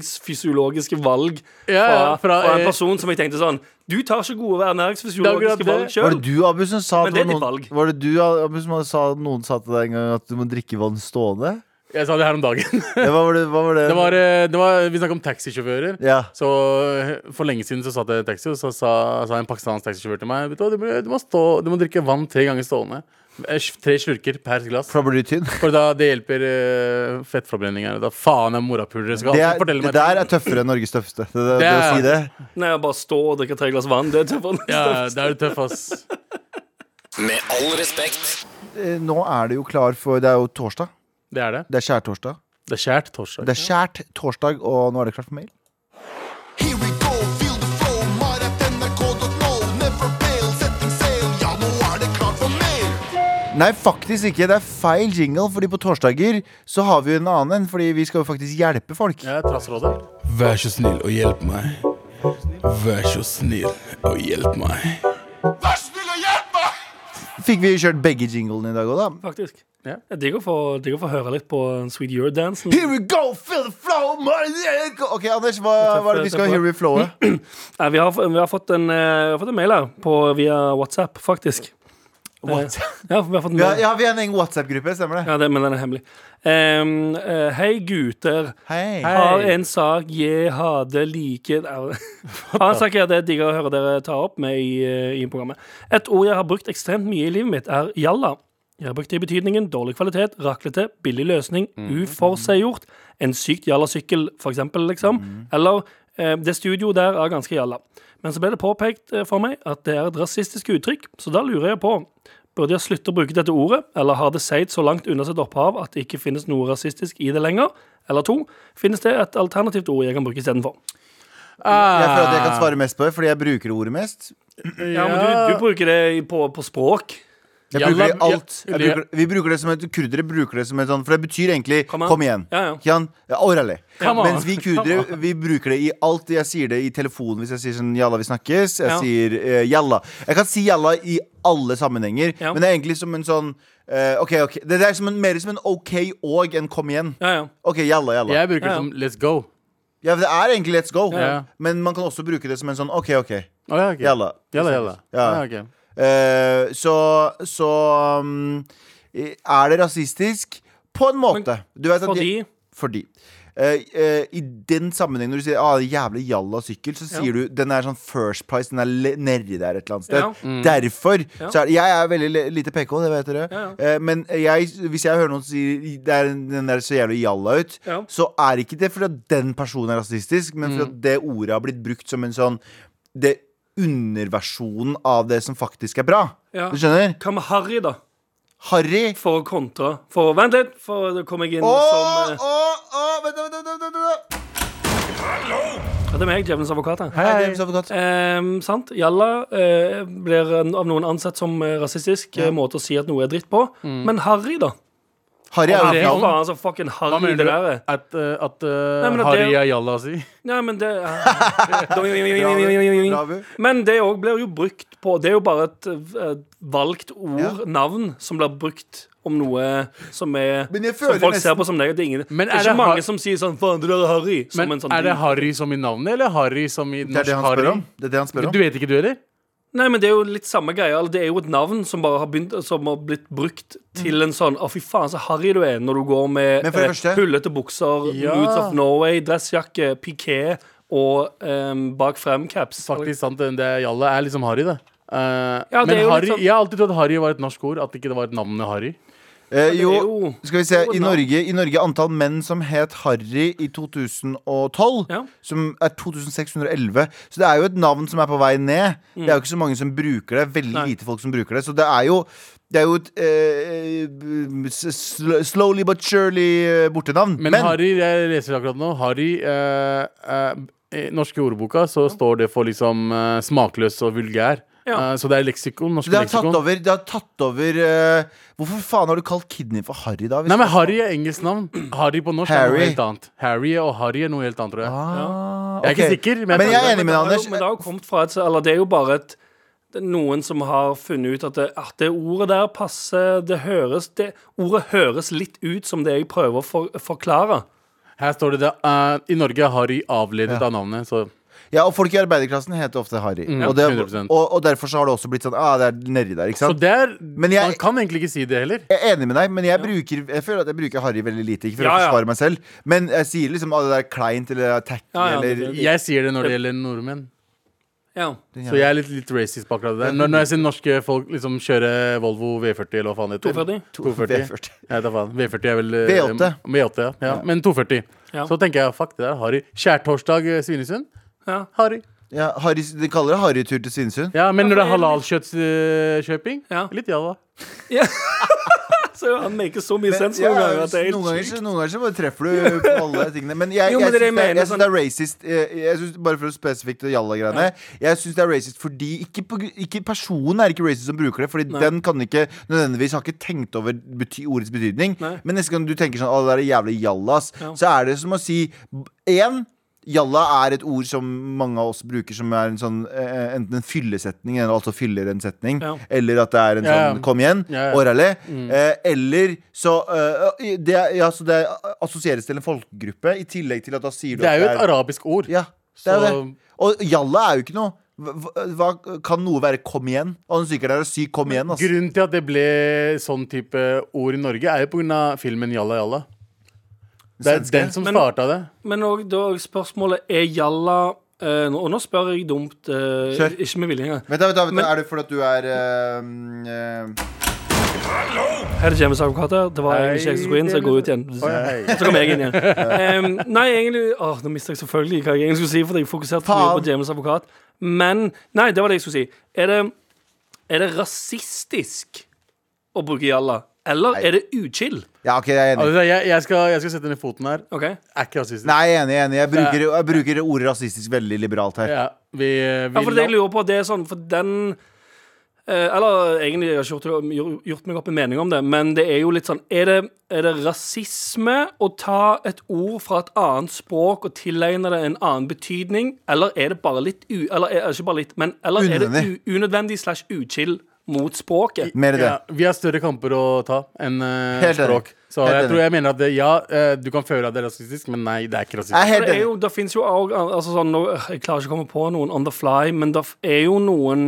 ernæringsfysiologiske valg fra,
Ja,
fra,
ja, fra, eh,
en person som jeg tenkte sånn Du tar ikke gode
Det er akkurat
ernæringsfysiologiske
det.
valg
Var
sjøl.
det du, Abu, som sa at
Men det er
var
ditt
noen,
valg.
Var det du, Abu, som hadde sa, noen sa til deg en gang at du må drikke vann stående?
Jeg sa det her om dagen.
Ja, hva var det? Hva var det?
Det var, eh, det var, vi snakket om taxisjåfører.
ja.
Så eh, For lenge siden så satt jeg i taxi, og så sa, sa en pakistansk taxisjåfør til meg Vet du hva, du må, du, må stå, du må drikke vann tre ganger stående. Eh, Tre slurker per glass.
For da blir du tynn.
For da det hjelper uh, fettforbrenninga. Da faen er morapulere skal
Det,
alltid
er,
fortelle
det
meg
der er tøffere enn Norges tøffeste. Det, det, det, å
er-
si det.
Nei, jeg bare stå og drikke tre glass vann. Det er tøffere.
Ja, det er du tøff, ass.
Med all respekt.
Eh, Nå er det jo klar for Det er jo torsdag.
Det er det.
Det er skjærtorsdag.
Det er skjært torsdag.
Det er skjært torsdag, og nå er det klart for mail.
Here we go, feel the flow, maratnrk.no. Never fail, setting sail. Ja, nå er det klart for mer.
Nei, faktisk ikke. Det er feil jingle, fordi på torsdager så har vi jo en annen en. Fordi vi skal jo faktisk hjelpe folk.
Ja, Trassrådet.
Vær så snill og hjelp meg. Vær så snill og hjelp meg.
Vær snill og hjelp meg!
Fikk vi kjørt begge jinglene i dag òg, da?
Faktisk.
Ja.
Jeg digger å få- digger å få høre litt på Sweet Euro-dansen.
Here we go, feel the flow maratnrk. Ok, Anders, hva, hva er det vi skal here we flowe?
Nei, vi, har, vi, har fått en, eh, vi har fått en mail her på, via WhatsApp, faktisk.
WhatsApp?
Eh, Ja, vi har fått en
Ja,
mail.
ja, vi er en egen WhatsApp-gruppe, stemmer det?
Ja, det, men den er hemmelig. Em, eh, hei, gutter.
Hei.
Har en sak jeg hadde like Au. Har en sak jeg hadde digga å høre dere ta opp med i, eh, i programmet. Et ord jeg har brukt ekstremt mye i livet mitt, er jalla. Jeg har brukt det i betydningen dårlig kvalitet, raklete, billig løsning, uforseggjort, en sykt jalla sykkel, for eksempel, liksom. Eller eh, det studioet der er ganske jalla. Men så ble det påpekt eh, for meg at det er et rasistisk uttrykk, så da lurer jeg på Burde jeg slutte å bruke dette ordet, eller har det seid så langt unna sitt opphav at det ikke finnes noe rasistisk i det lenger? Eller to, finnes det et alternativt ord jeg kan bruke istedenfor?
Jeg føler at jeg kan svare mest på det, fordi jeg bruker ordet mest.
Ah,
Ja, men du, du bruker det på, på språk.
Jeg
Jalla-
bruker det i alt.
ja,
Jeg bruker, vi bruker det som et Kurdere bruker det som et sånn For det betyr egentlig
Come on.
'kom igjen'.
Ja, ja.
Kjan, ja, orale.
Come on.
Mens vi kurdere vi bruker det i alt. Jeg sier det i telefonen hvis jeg sier sånn 'jalla, vi snakkes'. Jeg
Ja.
sier eh, 'jalla'. Jeg kan si 'jalla' i alle sammenhenger,
Ja.
men det er egentlig som en sånn eh, OK, OK. Det det er som en, mer som en OK og en 'kom igjen'.
Ja, ja.
OK, jalla, jalla.
Jeg bruker
Ja, ja.
det som let's go.
Ja, det er egentlig 'let's go',
Ja.
men man kan også bruke det som en sånn 'OK, OK,
Å, ja, ok.
jalla'.
Jalla, jalla.
Ja.
Ja, ok.
Eh, så så um, er det rasistisk på en måte. Du vet at
Fordi
de- fordi. Eh, eh, I den sammenhengen når du sier ah, 'jævlig jalla sykkel', så sier du den er sånn first price. Den er le- nedi der et eller annet sted.
Ja.
Derfor
Ja.
så er det Jeg er veldig le- lite PK, det vet dere.
Ja,
Eh, men jeg, hvis jeg hører noen si det er, 'den der så jævlig jalla ut',
Ja.
så er ikke det fordi at den personen er rasistisk, men fordi at det ordet har blitt brukt som en sånn Det underversjonen av det som faktisk er bra.
Ja.
Du skjønner?
Hva med Harry, da?
Harry
For å kontre. For Vent litt, for da kom jeg inn
Åh,
som eh,
åh, åh, vent, vent, vent, vent, vent.
ja, Det er meg, Djevelens advokat. her.
Hei, James Advokat.
Ehm, sant? Jalla eh, blir en- av noen ansett som eh, rasistisk eh, måte å si at noe er dritt på. Men Harry, da?
Harry er
Mm. Det
jo
er
klovn.
faen altså fucking
Hva
Harry,
mener
det
du?
der.
At, eh, at eh,
Nei, men at
Harry
det-
er jalla si?
Nei, men det
Bra, Abu.
Men det òg blir jo brukt på Det er jo bare et, et valgt ord,
Ja.
navn, som blir brukt om noe som er
Men jeg
Som
føler
folk ser
nesten-
på som negativt. Det er ingen-
Men
det
er
er ikke
det har-
mange som sier sånn 'faen, det der er Harry'. Som
Men
en sånn
er det
ding.
Harry som i navnet, eller Harry som i
Det er det
norsk
han spør
Harry?
om. Det er det han spør om.
Du vet ikke du heller?
Nei, men det er jo litt samme greia. eller Det er jo et navn som bare har, begynt, som har blitt brukt til en sånn 'Å, fy faen, så harry du er' når du går med
Men for det
eh,
første-
hullete bukser,
Ja.
Moods of Norway, dressjakke, piké og eh, bak frem-caps.
Faktisk sant, det det er jalla er liksom Harry, det. Eh,
Ja, det
men
er jo litt
Harry,
sånn-
jeg har alltid trodd Harry var et norsk ord, at ikke det var et navnet Harry.
Eh,
det er
jo,
jo-
skal vi se.
det er jo
I
navn.
Norge, I Norge antall menn som het Harry i 2012,
Ja.
som er 2611. Så det er jo et navn som er på vei ned. Det
Mm.
er jo ikke så mange som bruker det. Veldig
Nei.
lite folk som bruker det. Så det er jo det er jo et eh, s- sl- slowly but surely eh, bortenavn.
Men, Harry, jeg leser akkurat nå Harry, eh, eh, i norske ordboka så står det for liksom eh, smakløs og vulgær.
Ja.
Eh, så det er leksikon. Norske
det har tatt
leksikon.
over, det har tatt over eh, Hvorfor faen har du kalt kidney for Harry, da? hvis-
Nei, men Harry er engelsk navn. Harry på norsk er
Harry.
noe helt annet. Harry og Harry er noe helt annet, tror jeg.
Ah,
Jeg er ikke
ok.
sikker, men jeg
men,
tror
jeg
det.
er enig med
det,
deg, Anders.
er jo, men det har jo kommet fra et Eller det er jo bare et det er noen som har funnet ut at det, at det ordet der passer Det høres det, Ordet høres litt ut som det jeg prøver å for, forklare.
Her står det det eh, I Norge er Harry avledet av navnet, så
Ja, og folk i arbeiderklassen heter ofte Harry.
Mm.
og, det,
100%.
og, og derfor så har det også blitt sånn ah, det er nedi der, ikke
Så
sant?
det er
Men jeg-
Man kan egentlig ikke si det heller.
Jeg er enig med deg, men jeg, bruker, jeg føler at jeg bruker Harry veldig lite. Ikke for
Ja,
å
ja.
forsvare meg selv, men jeg sier liksom ah, det der er kleint eller tacky
Ja, ja,
eller
det-
Jeg sier det når det gjelder nordmenn.
Ja.
Så jeg er litt, litt racist bak akkurat det der. Når, når jeg ser norske folk liksom kjøre Volvo V40 eller hva faen det heter.
240.
240.
V40.
Jeg vet da faen. V40 er vel eh,
V8.
eh, V8 ja. ja. Men 240.
Ja.
Så tenker jeg fuck det der. Harry. Skjærtorsdag eh, Svinesund.
Ja.
Harry.
ja, Harry, De kaller det Harry-tur til Svinesund.
Ja, men
Ja,
når det er
for det er
halalkjøttkjøping,
Ja.
litt ja da.
Så han maker så mye sens
Ja,
noen ganger at det er
noen,
helt
ganger,
sykt.
så- noen ganger så bare treffer du på alle tingene. Men jeg,
Jo, men
jeg,
det er det
syns det,
jeg
er- jeg
mener, sånn-
syns det er racist eh, jeg synes, Bare for å spesifikt det jalla-greiene. Jeg syns det er racist fordi ikke, på gr- ikke personen er ikke racist som bruker det. Fordi den kan ikke nødvendigvis har ikke tenkt over bety, ordets betydning.
Nei.
Men neste gang du tenker sånn Å, det der er jævlig jallas,
Ja.
så er det som å si én Jalla er et ord som mange av oss bruker som er en sånn, eh, enten en fyllesetning, eller altså fyller en setning,
Ja.
eller at det er en
Ja, ja.
sånn kom igjen,
Ja, Mm. ja.
orale. Eh, eller så eh, det, er- ja, så det assosieres til en folkegruppe, i tillegg til at da sier du
Det
at
er jo et arabisk ord.
Ja, det er jo
Så-
det. Og jalla er jo ikke noe. Hva, hva kan noe være 'kom igjen'? Og den sykeren er å si 'kom igjen', ass.
Grunnen til at det ble sånn type ord i Norge, er jo pga. filmen Jalla Jalla. Det er
Svenske.
den som
Men-
starta det.
Men og, da er spørsmålet er jalla eh, nå- Og nå spør jeg dumt, eh,
Kjør.
ikke med vilje engang.
Vent, da, vent, da, vent,
Men-
da, er det fordi at du er eh, eh,
Her er James Advokat her. Det var egentlig ikke jeg som skulle inn, så jeg går ut igjen.
hei.
Så kom jeg inn igjen. Em, nei, egentlig Åh, Nå mista jeg selvfølgelig hva jeg egentlig skulle si, fordi jeg fokuserte for mye
Faen.
på James Advokat. Men Nei, det var det jeg skulle si. Er det, er det rasistisk å bruke jalla? Eller er det uchill?
Ja, OK, jeg er enig.
Altså, jeg, jeg, skal, jeg skal sette ned foten her.
OK?
Er ikke rasistisk.
Nei, jeg er enig. Jeg, er enig. jeg, bruker, jeg bruker ordet rasistisk veldig liberalt her.
Ja, vi, vi
Ja, for det jeg lurer på, det er sånn, for den eh, eller egentlig jeg har ikke gjort, gjort- gjort meg opp en mening om det, men det er jo litt sånn Er det, er det rasisme å ta et ord fra et annet språk og tilegne det en annen betydning, eller er det bare litt u... Eller er, ikke bare litt, men eller er
Unødvendig.
det u, unødvendig slash uchill mot språket?
Mer i det.
ja, vi har større kamper å ta enn eh,
Helt enig.
språk. Så
Helt
jeg
enig.
tror jeg mener at det, ja, eh, du kan føle at det er rasistisk, men nei, det er ikke
Jeg er
rasistisk.
For
helt
Det, er
enig.
jo, det finnes jo også, altså sånn, nå, øh, Jeg klarer ikke å komme på noen on the fly, men det er jo noen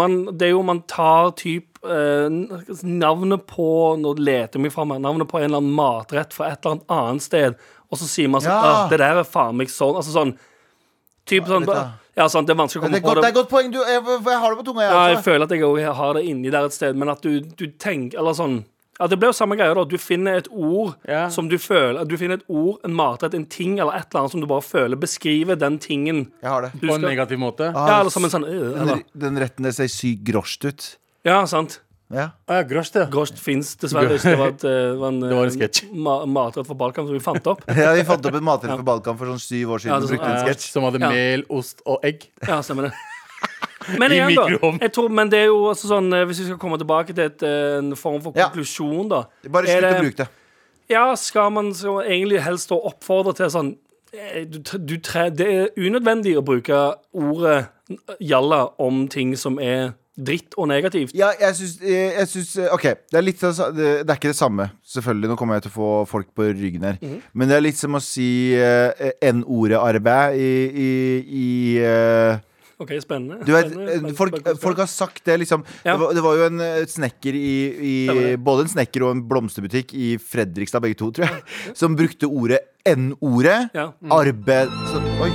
man, Det er jo man tar typ eh, n- navnet på Nå leter vi fram her, navnet på en eller annen matrett fra et eller annet annet sted, og så sier man sånn
Ja.
«Åh, Det der er faen meg sånn. Altså sånn typ sånn,
vet da.
Ja, sant, det er vanskelig å
Det
komme på
er godt, det
det.
er godt poeng. Du, jeg, jeg har det på tunga, jeg
Ja, jeg
også.
føler at jeg også har det inni der et sted, men at du, du tenker Eller sånn ja, Det blir jo samme greia, da. Du finner et ord
Ja.
som du føler Du finner et ord, en matrett, en ting eller et eller annet som du bare føler beskriver den tingen.
Jeg har det.
Du
På en
skal,
negativ måte. Å
Ah.
ja, eller som en sånn øh,
Den,
eller.
den retten der ser sykt grosjt ut.
Ja, sant.
Ja.
ja, grosj, det.
Grosj fins dessverre ikke. Det var, et, eh, var en,
var
eh,
en sketsj.
Ma matrett fra Balkan som vi fant opp.
ja, Vi fant opp en matrett for Balkan for sånn syv år siden.
Ja,
og
det er
brukte en
Ja,
sketsj
som hadde
Ja.
mel, ost og egg.
Ja, stemmer det. Men
I
igjen, da.
mikroovn.
Jeg tror, men det er jo også sånn eh, Hvis vi skal komme tilbake til et, eh, en form for
Ja.
konklusjon, da
Bare
er
slutt å
det-
bruke det.
Ja, skal man skal man egentlig helst da oppfordre til sånn eh, du, tre- du, tre- Det er unødvendig å bruke ordet jalla om ting som er dritt og negativt.
Ja, jeg syns, eh, jeg syns eh, OK, det er litt av sa- Det det er ikke det samme, selvfølgelig. Nå kommer jeg til å få folk på ryggen her.
Mhm.
Men det er litt som å si eh, n-ordet arbeid i, i, i eh,
OK, spennende.
Du vet,
Spennende, spennende,
eh, folk,
spennende.
folk har sagt det, liksom.
Ja.
Det, var, det var jo en eh, snekker i,
Stemmer
i
det.
Både en snekker og en blomsterbutikk i Fredrikstad, begge to, tror jeg, som brukte ordet N-ordet.
Ja. mm.
Arbeid så, Oi.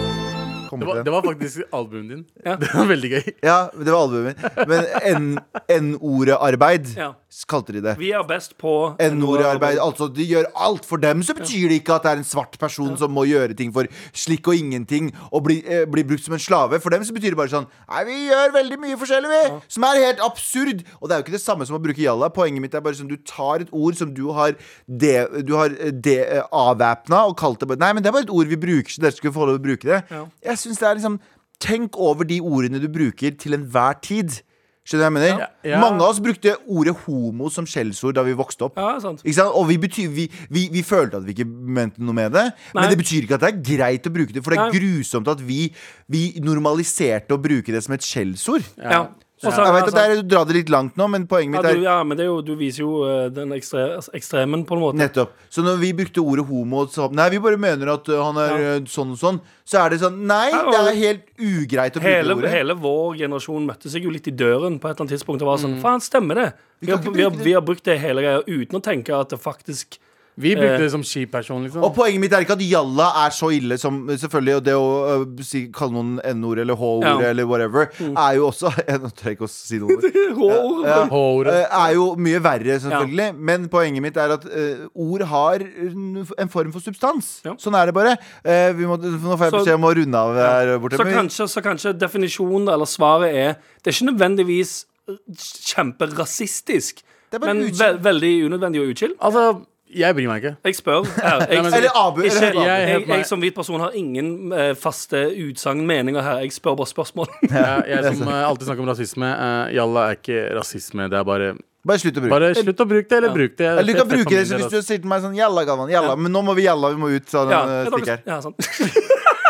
Kom
Det
på
var,
den.
det var faktisk albumet din.
Ja.
Det var veldig gøy.
Ja, det var albumet mitt. Men N- N-ordet arbeid.
Ja.
kalte de det.
Vi er best på
NOR-arbeid. Altså, de gjør alt for dem, så betyr det ikke at det er en svart person som må gjøre ting for slikk og ingenting og bli, eh, bli brukt som en slave. For dem så betyr det bare sånn Nei, vi gjør veldig mye forskjellig, vi! Som er helt absurd! Og det er jo ikke det samme som å bruke jalla. Poenget mitt er bare sånn du tar et ord som du har, de, du har eh, de, eh, avvæpna og kalt det bare Nei, men det er bare et ord vi bruker, så dere skulle få lov å bruke det. Jeg synes det er liksom Tenk over de ordene du bruker til enhver tid. Skjønner du hva jeg mener?
Ja. Ja.
Mange av oss brukte ordet homo som skjellsord da vi vokste opp.
Ja, sant.
Ikke sant? Og vi, betyr, vi, vi, vi følte at vi ikke mente noe med det.
Nei.
Men det betyr ikke at det er greit å bruke det, for det er
Nei.
grusomt at vi, vi normaliserte å bruke det som et skjellsord.
Ja. Og så-
Jeg vet at
altså-
det er å dra det litt langt nå, men poenget mitt
ja, du,
er
ja, men det er jo, du viser jo eh, den ekstre, altså, ekstremen, på en måte.
Nettopp. Så når vi brukte ordet homo så, Nei, vi bare mener at uh, han er
Ja.
uh, sånn og sånn. Så er det sånn Nei,
Ja,
det
og-
er helt ugreit å bruke
Hele,
det ordet.
hele vår generasjon møtte seg jo litt i døren på et eller annet tidspunkt og var sånn Faen, stemmer det? Vi
Mm. kan
har,
ikke
vi, har,
bruke det.
vi har brukt det hele greia uten å tenke at det faktisk
Vi
Eh.
brukte det som kjip person, liksom.
Og poenget mitt er ikke at jalla er så ille som Selvfølgelig, og det å øh, si, kalle noen n-ord eller h-ord
Ja. Mm.
eller whatever, er jo også Jeg nå tør jeg ikke å si noe. ord.
Råord.
Ja.
H-ordet.
Eh, Er jo mye verre, selvfølgelig. Men poenget mitt er at eh, ord har en en form for substans.
Ja.
Sånn er det bare. Eh, vi må, nå får jeg
Så-
beskjed om å runde av her borte.
Så
men-
kanskje, så kanskje definisjonen eller svaret er Det er ikke nødvendigvis eh, kjemperasistisk,
Det er bare
men
uchill.
ve veldig unødvendig og uchill.
Altså, jeg bryr meg ikke.
Jeg spør. her. Jeg,
men-
Eller Abu, eller
ikke,
Abu.
jeg, jeg,
Jeg-
som hvit person har ingen eh, faste utsagn, meninger her. Jeg spør bare spørsmål.
Jeg, jeg som eh, alltid snakker om rasisme, eh, jalla er ikke rasisme. Det er bare
Bare slutt å bruke det.
Bare slutt å bruke det, eller bruk det.
Eller du kan
Det er
bruke
fett
det
for
så
min
hvis
del,
du sier til meg sånn Jalla, Galvan. Jalla. Men nå må vi jalla. Vi må ut. Sånn,
Ja,
eh,
jeg
stikk
tar-
her.
ja, sant.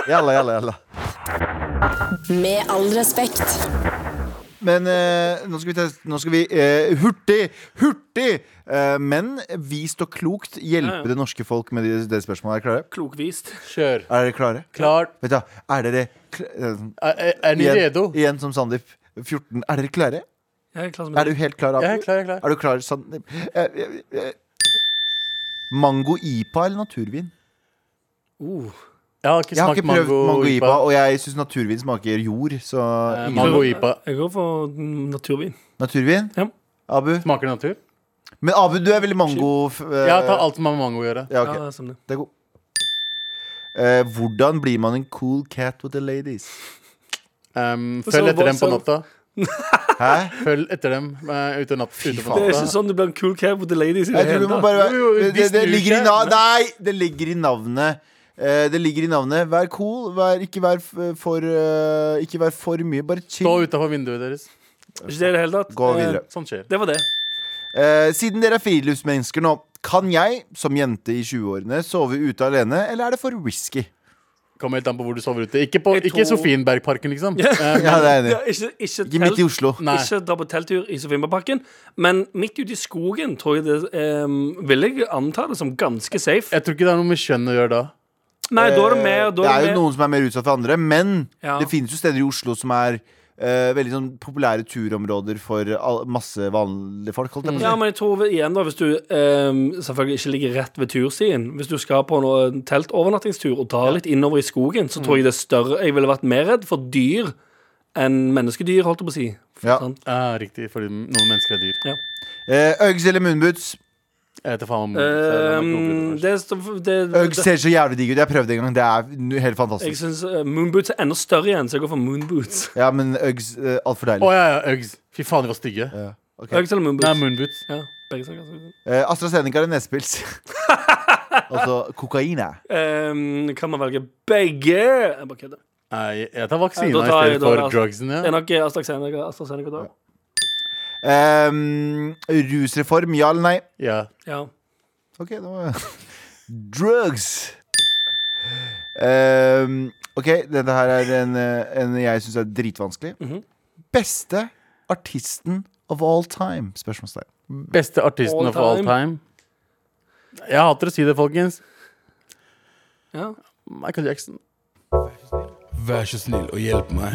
Jalla, jalla, jalla.
Med all respekt.
Men eh, nå skal vi, teste, nå skal vi eh, hurtig, hurtig, eh, men vist og klokt hjelpe
Ja, ja.
det norske folk med det, det spørsmålet. Er dere klare?
Klokvist.
ass. Kjør.
Er dere klare?
Klart.
Vet du, hva, er dere kl eh, sånn,
Er, er, er ni redo?
igjen, igjen som Sandeep. 14. Er dere klare?
Jeg er klar som
Er du helt klar? Abu?
Jeg er klar, jeg er klar.
Er du klar, Sandeep? Eh, eh, eh. Mango IPA eller naturvin?
Uh,
Jeg har ikke
Jeg har ikke
smakt
prøvd mango, IPA,
mango-ipa. Eh,
og jeg syns naturvin smaker jord, så ingen-
Mango-ipa
jeg går for mm, naturvin.
Naturvin?
Ja.
Abu?
smaker natur.
Eh, Men Abu, du er veldig mango... f- eh,
Jeg tar alt som har med mango å gjøre.
ja, ok.
Ja, som det.
Det er god. Eh, hvordan blir man en cool cat with the ladies?
Um,
Så
følg etter
hva-
dem på
så-
natta.
Hæ?
Følg etter dem eh, ute, natt, ute på
faen.
det er ikke
natta.
sånn du blir en cool cat with the ladies. i det
Jeg tror
hele
vi må
tatt.
bare
Jo, jo,
være det, det, det
visste du
ligger i
ikke?
navnet Nei! Det ligger i navnet. Eh, det ligger i navnet. Vær cool. Vær, ikke, vær f- for, eh, ikke vær for mye. Bare chill.
Stå utafor vinduet deres.
Ikke det i det hele tatt.
Gå
Eh,
videre.
Sånn skjer.
Det var det.
Eh, siden dere er friluftsmennesker nå, kan jeg som jente i 20-årene sove ute alene, eller er det for risky?
Kommer helt an på hvor du sover ute. Ikke, på,
Jeg
ikke
tror-
Sofienbergparken, liksom. Eh,
Ja, det er jeg enig
Ja,
i.
ikke, ikke,
Ikke midt i
telt.
Oslo.
Nei.
Ikke dra på telttur i Sofienbergparken, men midt ute i skogen tror jeg det eh, vil jeg anta det som ganske safe.
Jeg tror ikke det har noe med kjønn å gjøre da.
Nei, da er det mer
eh, det
da
er
er
jo
det mer-
noen som er mer utsatt for andre, men
Ja.
det finnes jo steder i Oslo som er eh, veldig sånn populære turområder for all, masse vanlige folk. Holdt jeg på
Ja,
å si.
men jeg tror vel igjen, da, hvis du eh, selvfølgelig ikke ligger rett ved turstien Hvis du skal på noe- en teltovernattingstur og drar litt innover i skogen, så
Mm.
tror jeg det er større Jeg ville vært mer redd for dyr enn menneskedyr, holdt jeg på å si.
Ja.
Sant?
Ah, riktig, fordi noen mennesker er dyr.
Eh, Uggs eller moonboots?
Jeg vet da
Mm,
faen om
Ehm, det, står- det,
Uggs
det,
ser så jævlig digg ut. Jeg prøvde en gang. Det er nu- helt
jeg
fantastisk.
syns moonboots er enda større igjen, så jeg går for moonboots.
Ja, men Uggs uh, altfor
Å
deilig.
ja, ja, Uggs. Fy faen, de var stygge.
Ja. ok.
Uggs eller moonboots?
Nei, moonboots.
ja, begge altså. saker.
Eh, AstraZeneca eller nespils? altså kokain, jeg.
Ehm, kan man velge begge? Jeg bare kødder.
Nei, jeg tar
Ja,
vaksina
da
i
tar jeg-
stedet
da-
for
da-
drugsen.
Det er
Ja.
nok eh, AstraZeneca. AstraZeneca da.
Ehm, rusreform, ja eller nei?
Ja.
Ja.
Ok, det var Drugs Ehm, Ok, dette her er en, eh, en jeg synes er dritvanskelig Beste artisten of all time Spørsmålstegn
Beste artisten
All
of all time. Jeg hater å si det, folkens.
ja.
Michael Jackson.
Vær så snill og hjelp meg.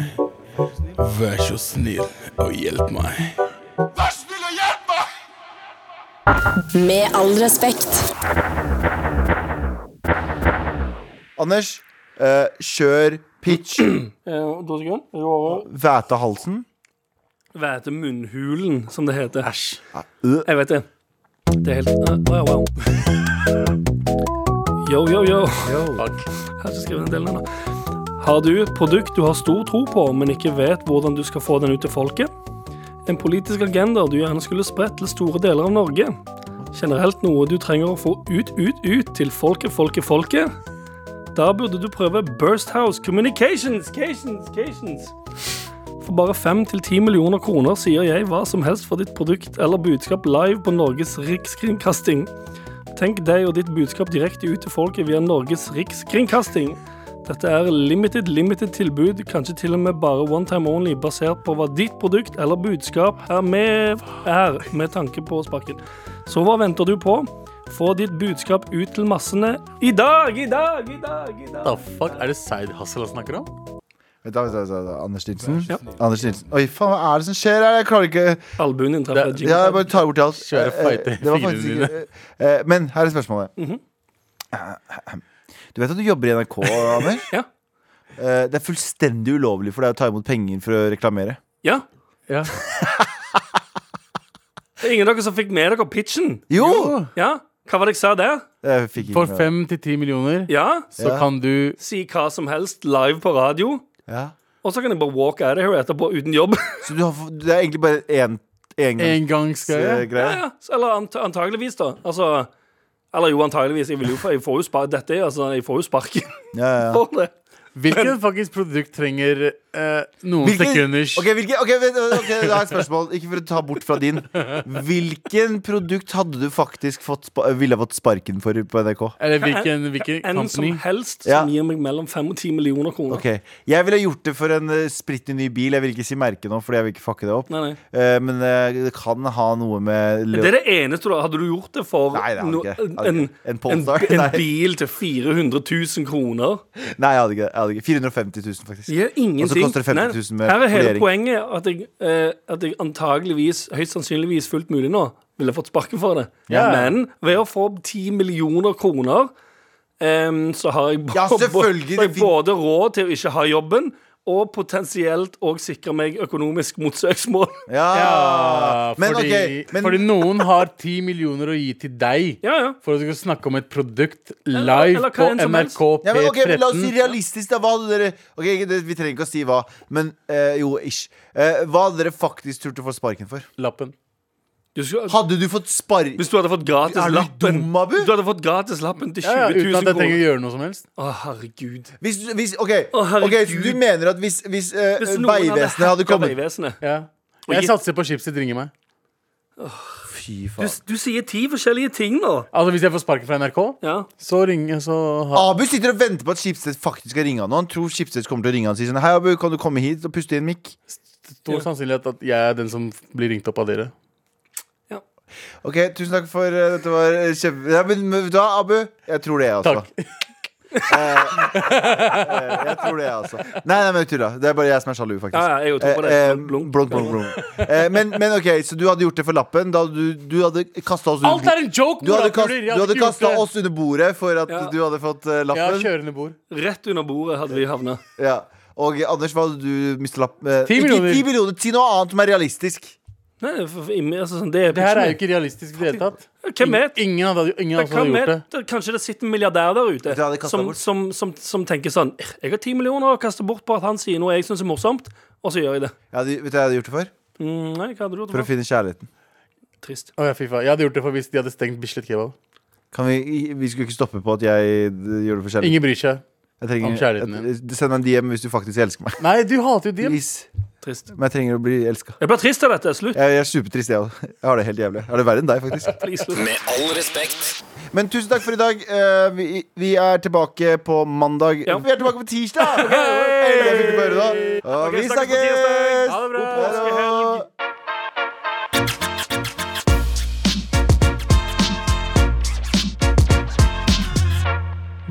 Vær så snill og hjelp meg.
Vær snill og hjelp meg!
Med all respekt.
Anders, eh, kjør pitch
Eh, to sekunder. Jeg går over.
Væta halsen
Hva heter munnhulen, som det heter? Æsj.
øh.
Jeg vet det. Det er helt ah, wow, wow. Yo, yo, yo. Jeg har ikke skrevet den delen ennå. Har du et produkt du har stor tro på, men ikke vet hvordan du skal få den ut til folket? En politisk agenda du gjerne skulle spredt til store deler av Norge? Generelt noe du trenger å få ut, ut, ut til folket, folket, folket? Da burde du prøve Burst House Communications. Cations, cations. For bare 5-10 millioner kroner sier jeg hva som helst for ditt produkt eller budskap live på Norges Rikskringkasting. Tenk deg og ditt budskap direkte ut til folket via Norges Rikskringkasting. Dette er limited, limited tilbud, kanskje til og med bare one time only, basert på hva ditt produkt eller budskap er med, er, med tanke på sparken. Så hva venter du på? Få ditt budskap ut til massene i dag, i dag, i dag! i dag.
The fuck, Er det side hustle han snakker om?
Vent, da, vent, da, vent, da. Anders Nilsen? Anders Nilsen. Oi, faen, hva er det som skjer her? Jeg klarer ikke
Albuen din treffer
Det-
Jim.
Ja, jeg bare tar bort i alt.
Kjøre
Eh,
fight i
eh, det var
fingrene Mhm.
faktisk ikke eh, eh, Men her er spørsmålet. Du vet at du jobber i NRK, Anders?
Ja.
Eh, Det er fullstendig ulovlig for deg å ta imot penger for å reklamere.
Ja.
Ja.
Det er ingen av dere som fikk med dere pitchen?
Jo!
Ja? Hva var det jeg sa der?
Jeg fikk ikke
For
med-
fem til ti millioner
Ja?
så
Ja.
kan du
Si hva som helst live på radio,
Ja.
og så kan jeg bare walk out of here etterpå uten jobb.
Så du har, fått- det er egentlig bare én eh, engangsgreie?
engangsgreie
ja, så- eller ant antageligvis, da. Altså Eller jo, antageligvis. Jeg, vil jo, få- jeg får jo spark. Dette er altså Jeg får jo sparken
Ja, ja.
for det.
Hvilket faktisk produkt trenger eh, noen
Hvilken-
sekunders
Ok, hvilken, ok, vent, ok, da har jeg et spørsmål. Ikke for å ta bort fra din. Hvilken produkt hadde du faktisk fått, spa- ville fått sparken for på NRK?
Eller hvilken, hvilken
En
company?
som helst
Ja.
som gir meg mellom 5 og 10 millioner kroner.
Ok, Jeg ville gjort det for en eh, splitter ny bil. Jeg vil ikke si merke nå, fordi jeg vil ikke fucke det opp.
Nei, nei.
Eh, men eh, det kan ha noe med lø-
Det er det eneste du har. Hadde du gjort det for
Nei, det hadde
no-
jeg ikke. Hadde
en,
ikke. En
en,
Polestar?
en
Nei.
bil til 400 000 kroner?
Nei, jeg hadde ikke det. Jeg hadde ikke. 450 000, faktisk.
Det gjør ingenting.
Og så koster det 50 000
Nei,
med
Her er hele
foliering.
poenget at jeg, eh, at jeg antageligvis, høyst sannsynligvis fullt mulig nå, ville fått sparken for det.
Ja.
Men ved å få 10 millioner kroner, em, så har jeg, b-
Ja, selvfølgelig,
b- så har jeg
det fin-
både råd til å ikke ha jobben, og potensielt òg sikre meg økonomisk mot søksmål.
Ja.
Ah,
Ja,
Men
fordi,
ok, men-
fordi noen har ti millioner å gi til deg
Ja, ja.
for at du skal snakke om et produkt live
eller hva
på
enn som helst.
NRK P13.
Ja, men, ok, men la oss si realistisk, da. Hva hadde dere Ok, ikke det, Vi trenger ikke å si hva, men eh, jo, ish. Eh, hva hadde dere faktisk turt å få sparken for?
Lappen.
Du skulle,
Hadde du fått spark...
hvis du hadde fått gratis
Er du
lappen
dum, Abu?
Du hadde fått gratis lappen til
Ja,
20
ja, uten
000
at jeg trenger
kroner.
å gjøre noe som helst.
Å, herregud.
Hvis, hvis, ok,
Å, herregud.
ok, så du mener at hvis, hvis, eh,
Hvis noen hadde
Vegvesenet
hacka
hadde kommet
Vegvesenet
Ja.
gi-
Jeg satser på chipset ringer meg.
Fy
du,
faen.
du sier ti forskjellige ting nå.
Altså Hvis jeg får sparken fra NRK,
Ja.
så ringer så har
Abu sitter og venter på at Schibsted faktisk skal ringe han. Og han tror Schibsted kommer til å ringe han og si sånn Hei, Abu, kan du komme hit og puste i en mikk?
stor sannsynlighet at jeg er den som blir ringt opp av dere.
Ok, tusen takk for eh, Dette var eh, kjempe... Ja, men men vet du hva, Abu? Jeg tror det, jeg også.
Takk.
Eh, Jeg tror det, jeg også. Nei, nei, men jeg tuller. Det er bare jeg som er sjalu, faktisk.
Ja, ja, jeg tror på det.
Eh, eh,
Blunk,
blunk, blunk, blunk. Eh, men, men ok, så du hadde gjort det for lappen? Da du, du hadde kasta oss
Alt er en joke!
Du hadde,
morapuler.
kast,
Jeg
du hadde
ikke gjort
kasta
det.
oss under bordet for at
Ja.
du hadde fått eh,
Ja,
lappen?
kjørende bord.
Rett under bordet hadde vi havna.
Ja. Og Anders, hva hadde du mista lappen? Eh,
Ti
ikke
millioner.
ti millioner. Si noe annet som er realistisk.
Nei, for, for, altså, sånn, det er
Det her er jo ikke realistisk i det hele tatt.
Hvem vet?
Ingen hadde, ingen av oss
Hvem
hadde gjort det.
vet? Kanskje det sitter en milliardær der ute
hadde jeg kastet
som,
bort.
som, som, som tenker sånn "Eh, Jeg har ti millioner og kaster bort på at han sier noe jeg syns er morsomt, og så gjør jeg det.
Jeg hadde, vet du hva jeg hadde gjort det for?
Mm, nei, hva hadde du gjort
For å
for?
finne kjærligheten.
Trist.
Å, ja, fy faen. Jeg hadde gjort det for hvis de hadde stengt Bislett Kebab.
Kan vi, vi skulle ikke stoppe på at jeg eh, gjør det for kjærligheten.
Ingen bryr seg.
Jeg trenger,
om kjærligheten
jeg- Send meg en DM hvis du faktisk elsker meg.
Nei, du hater jo dem.
Please.
Trist.
Men jeg trenger å bli elska.
Jeg blir trist av dette. Slutt.
Jeg, jeg er supertrist, jeg òg. Jeg har det helt jævlig. Jeg har det verre enn deg, faktisk.
Please, slutt.
Med all respekt.
Men tusen takk for i dag. Eh, vi, vi er tilbake på mandag.
Ja.
Vi er tilbake på tirsdag! Hey! Det fikk du på øret, da. Og
Ok,
vi
snakkes på tirsdag.
snakkes!
Ha det bra.
God påskehelg.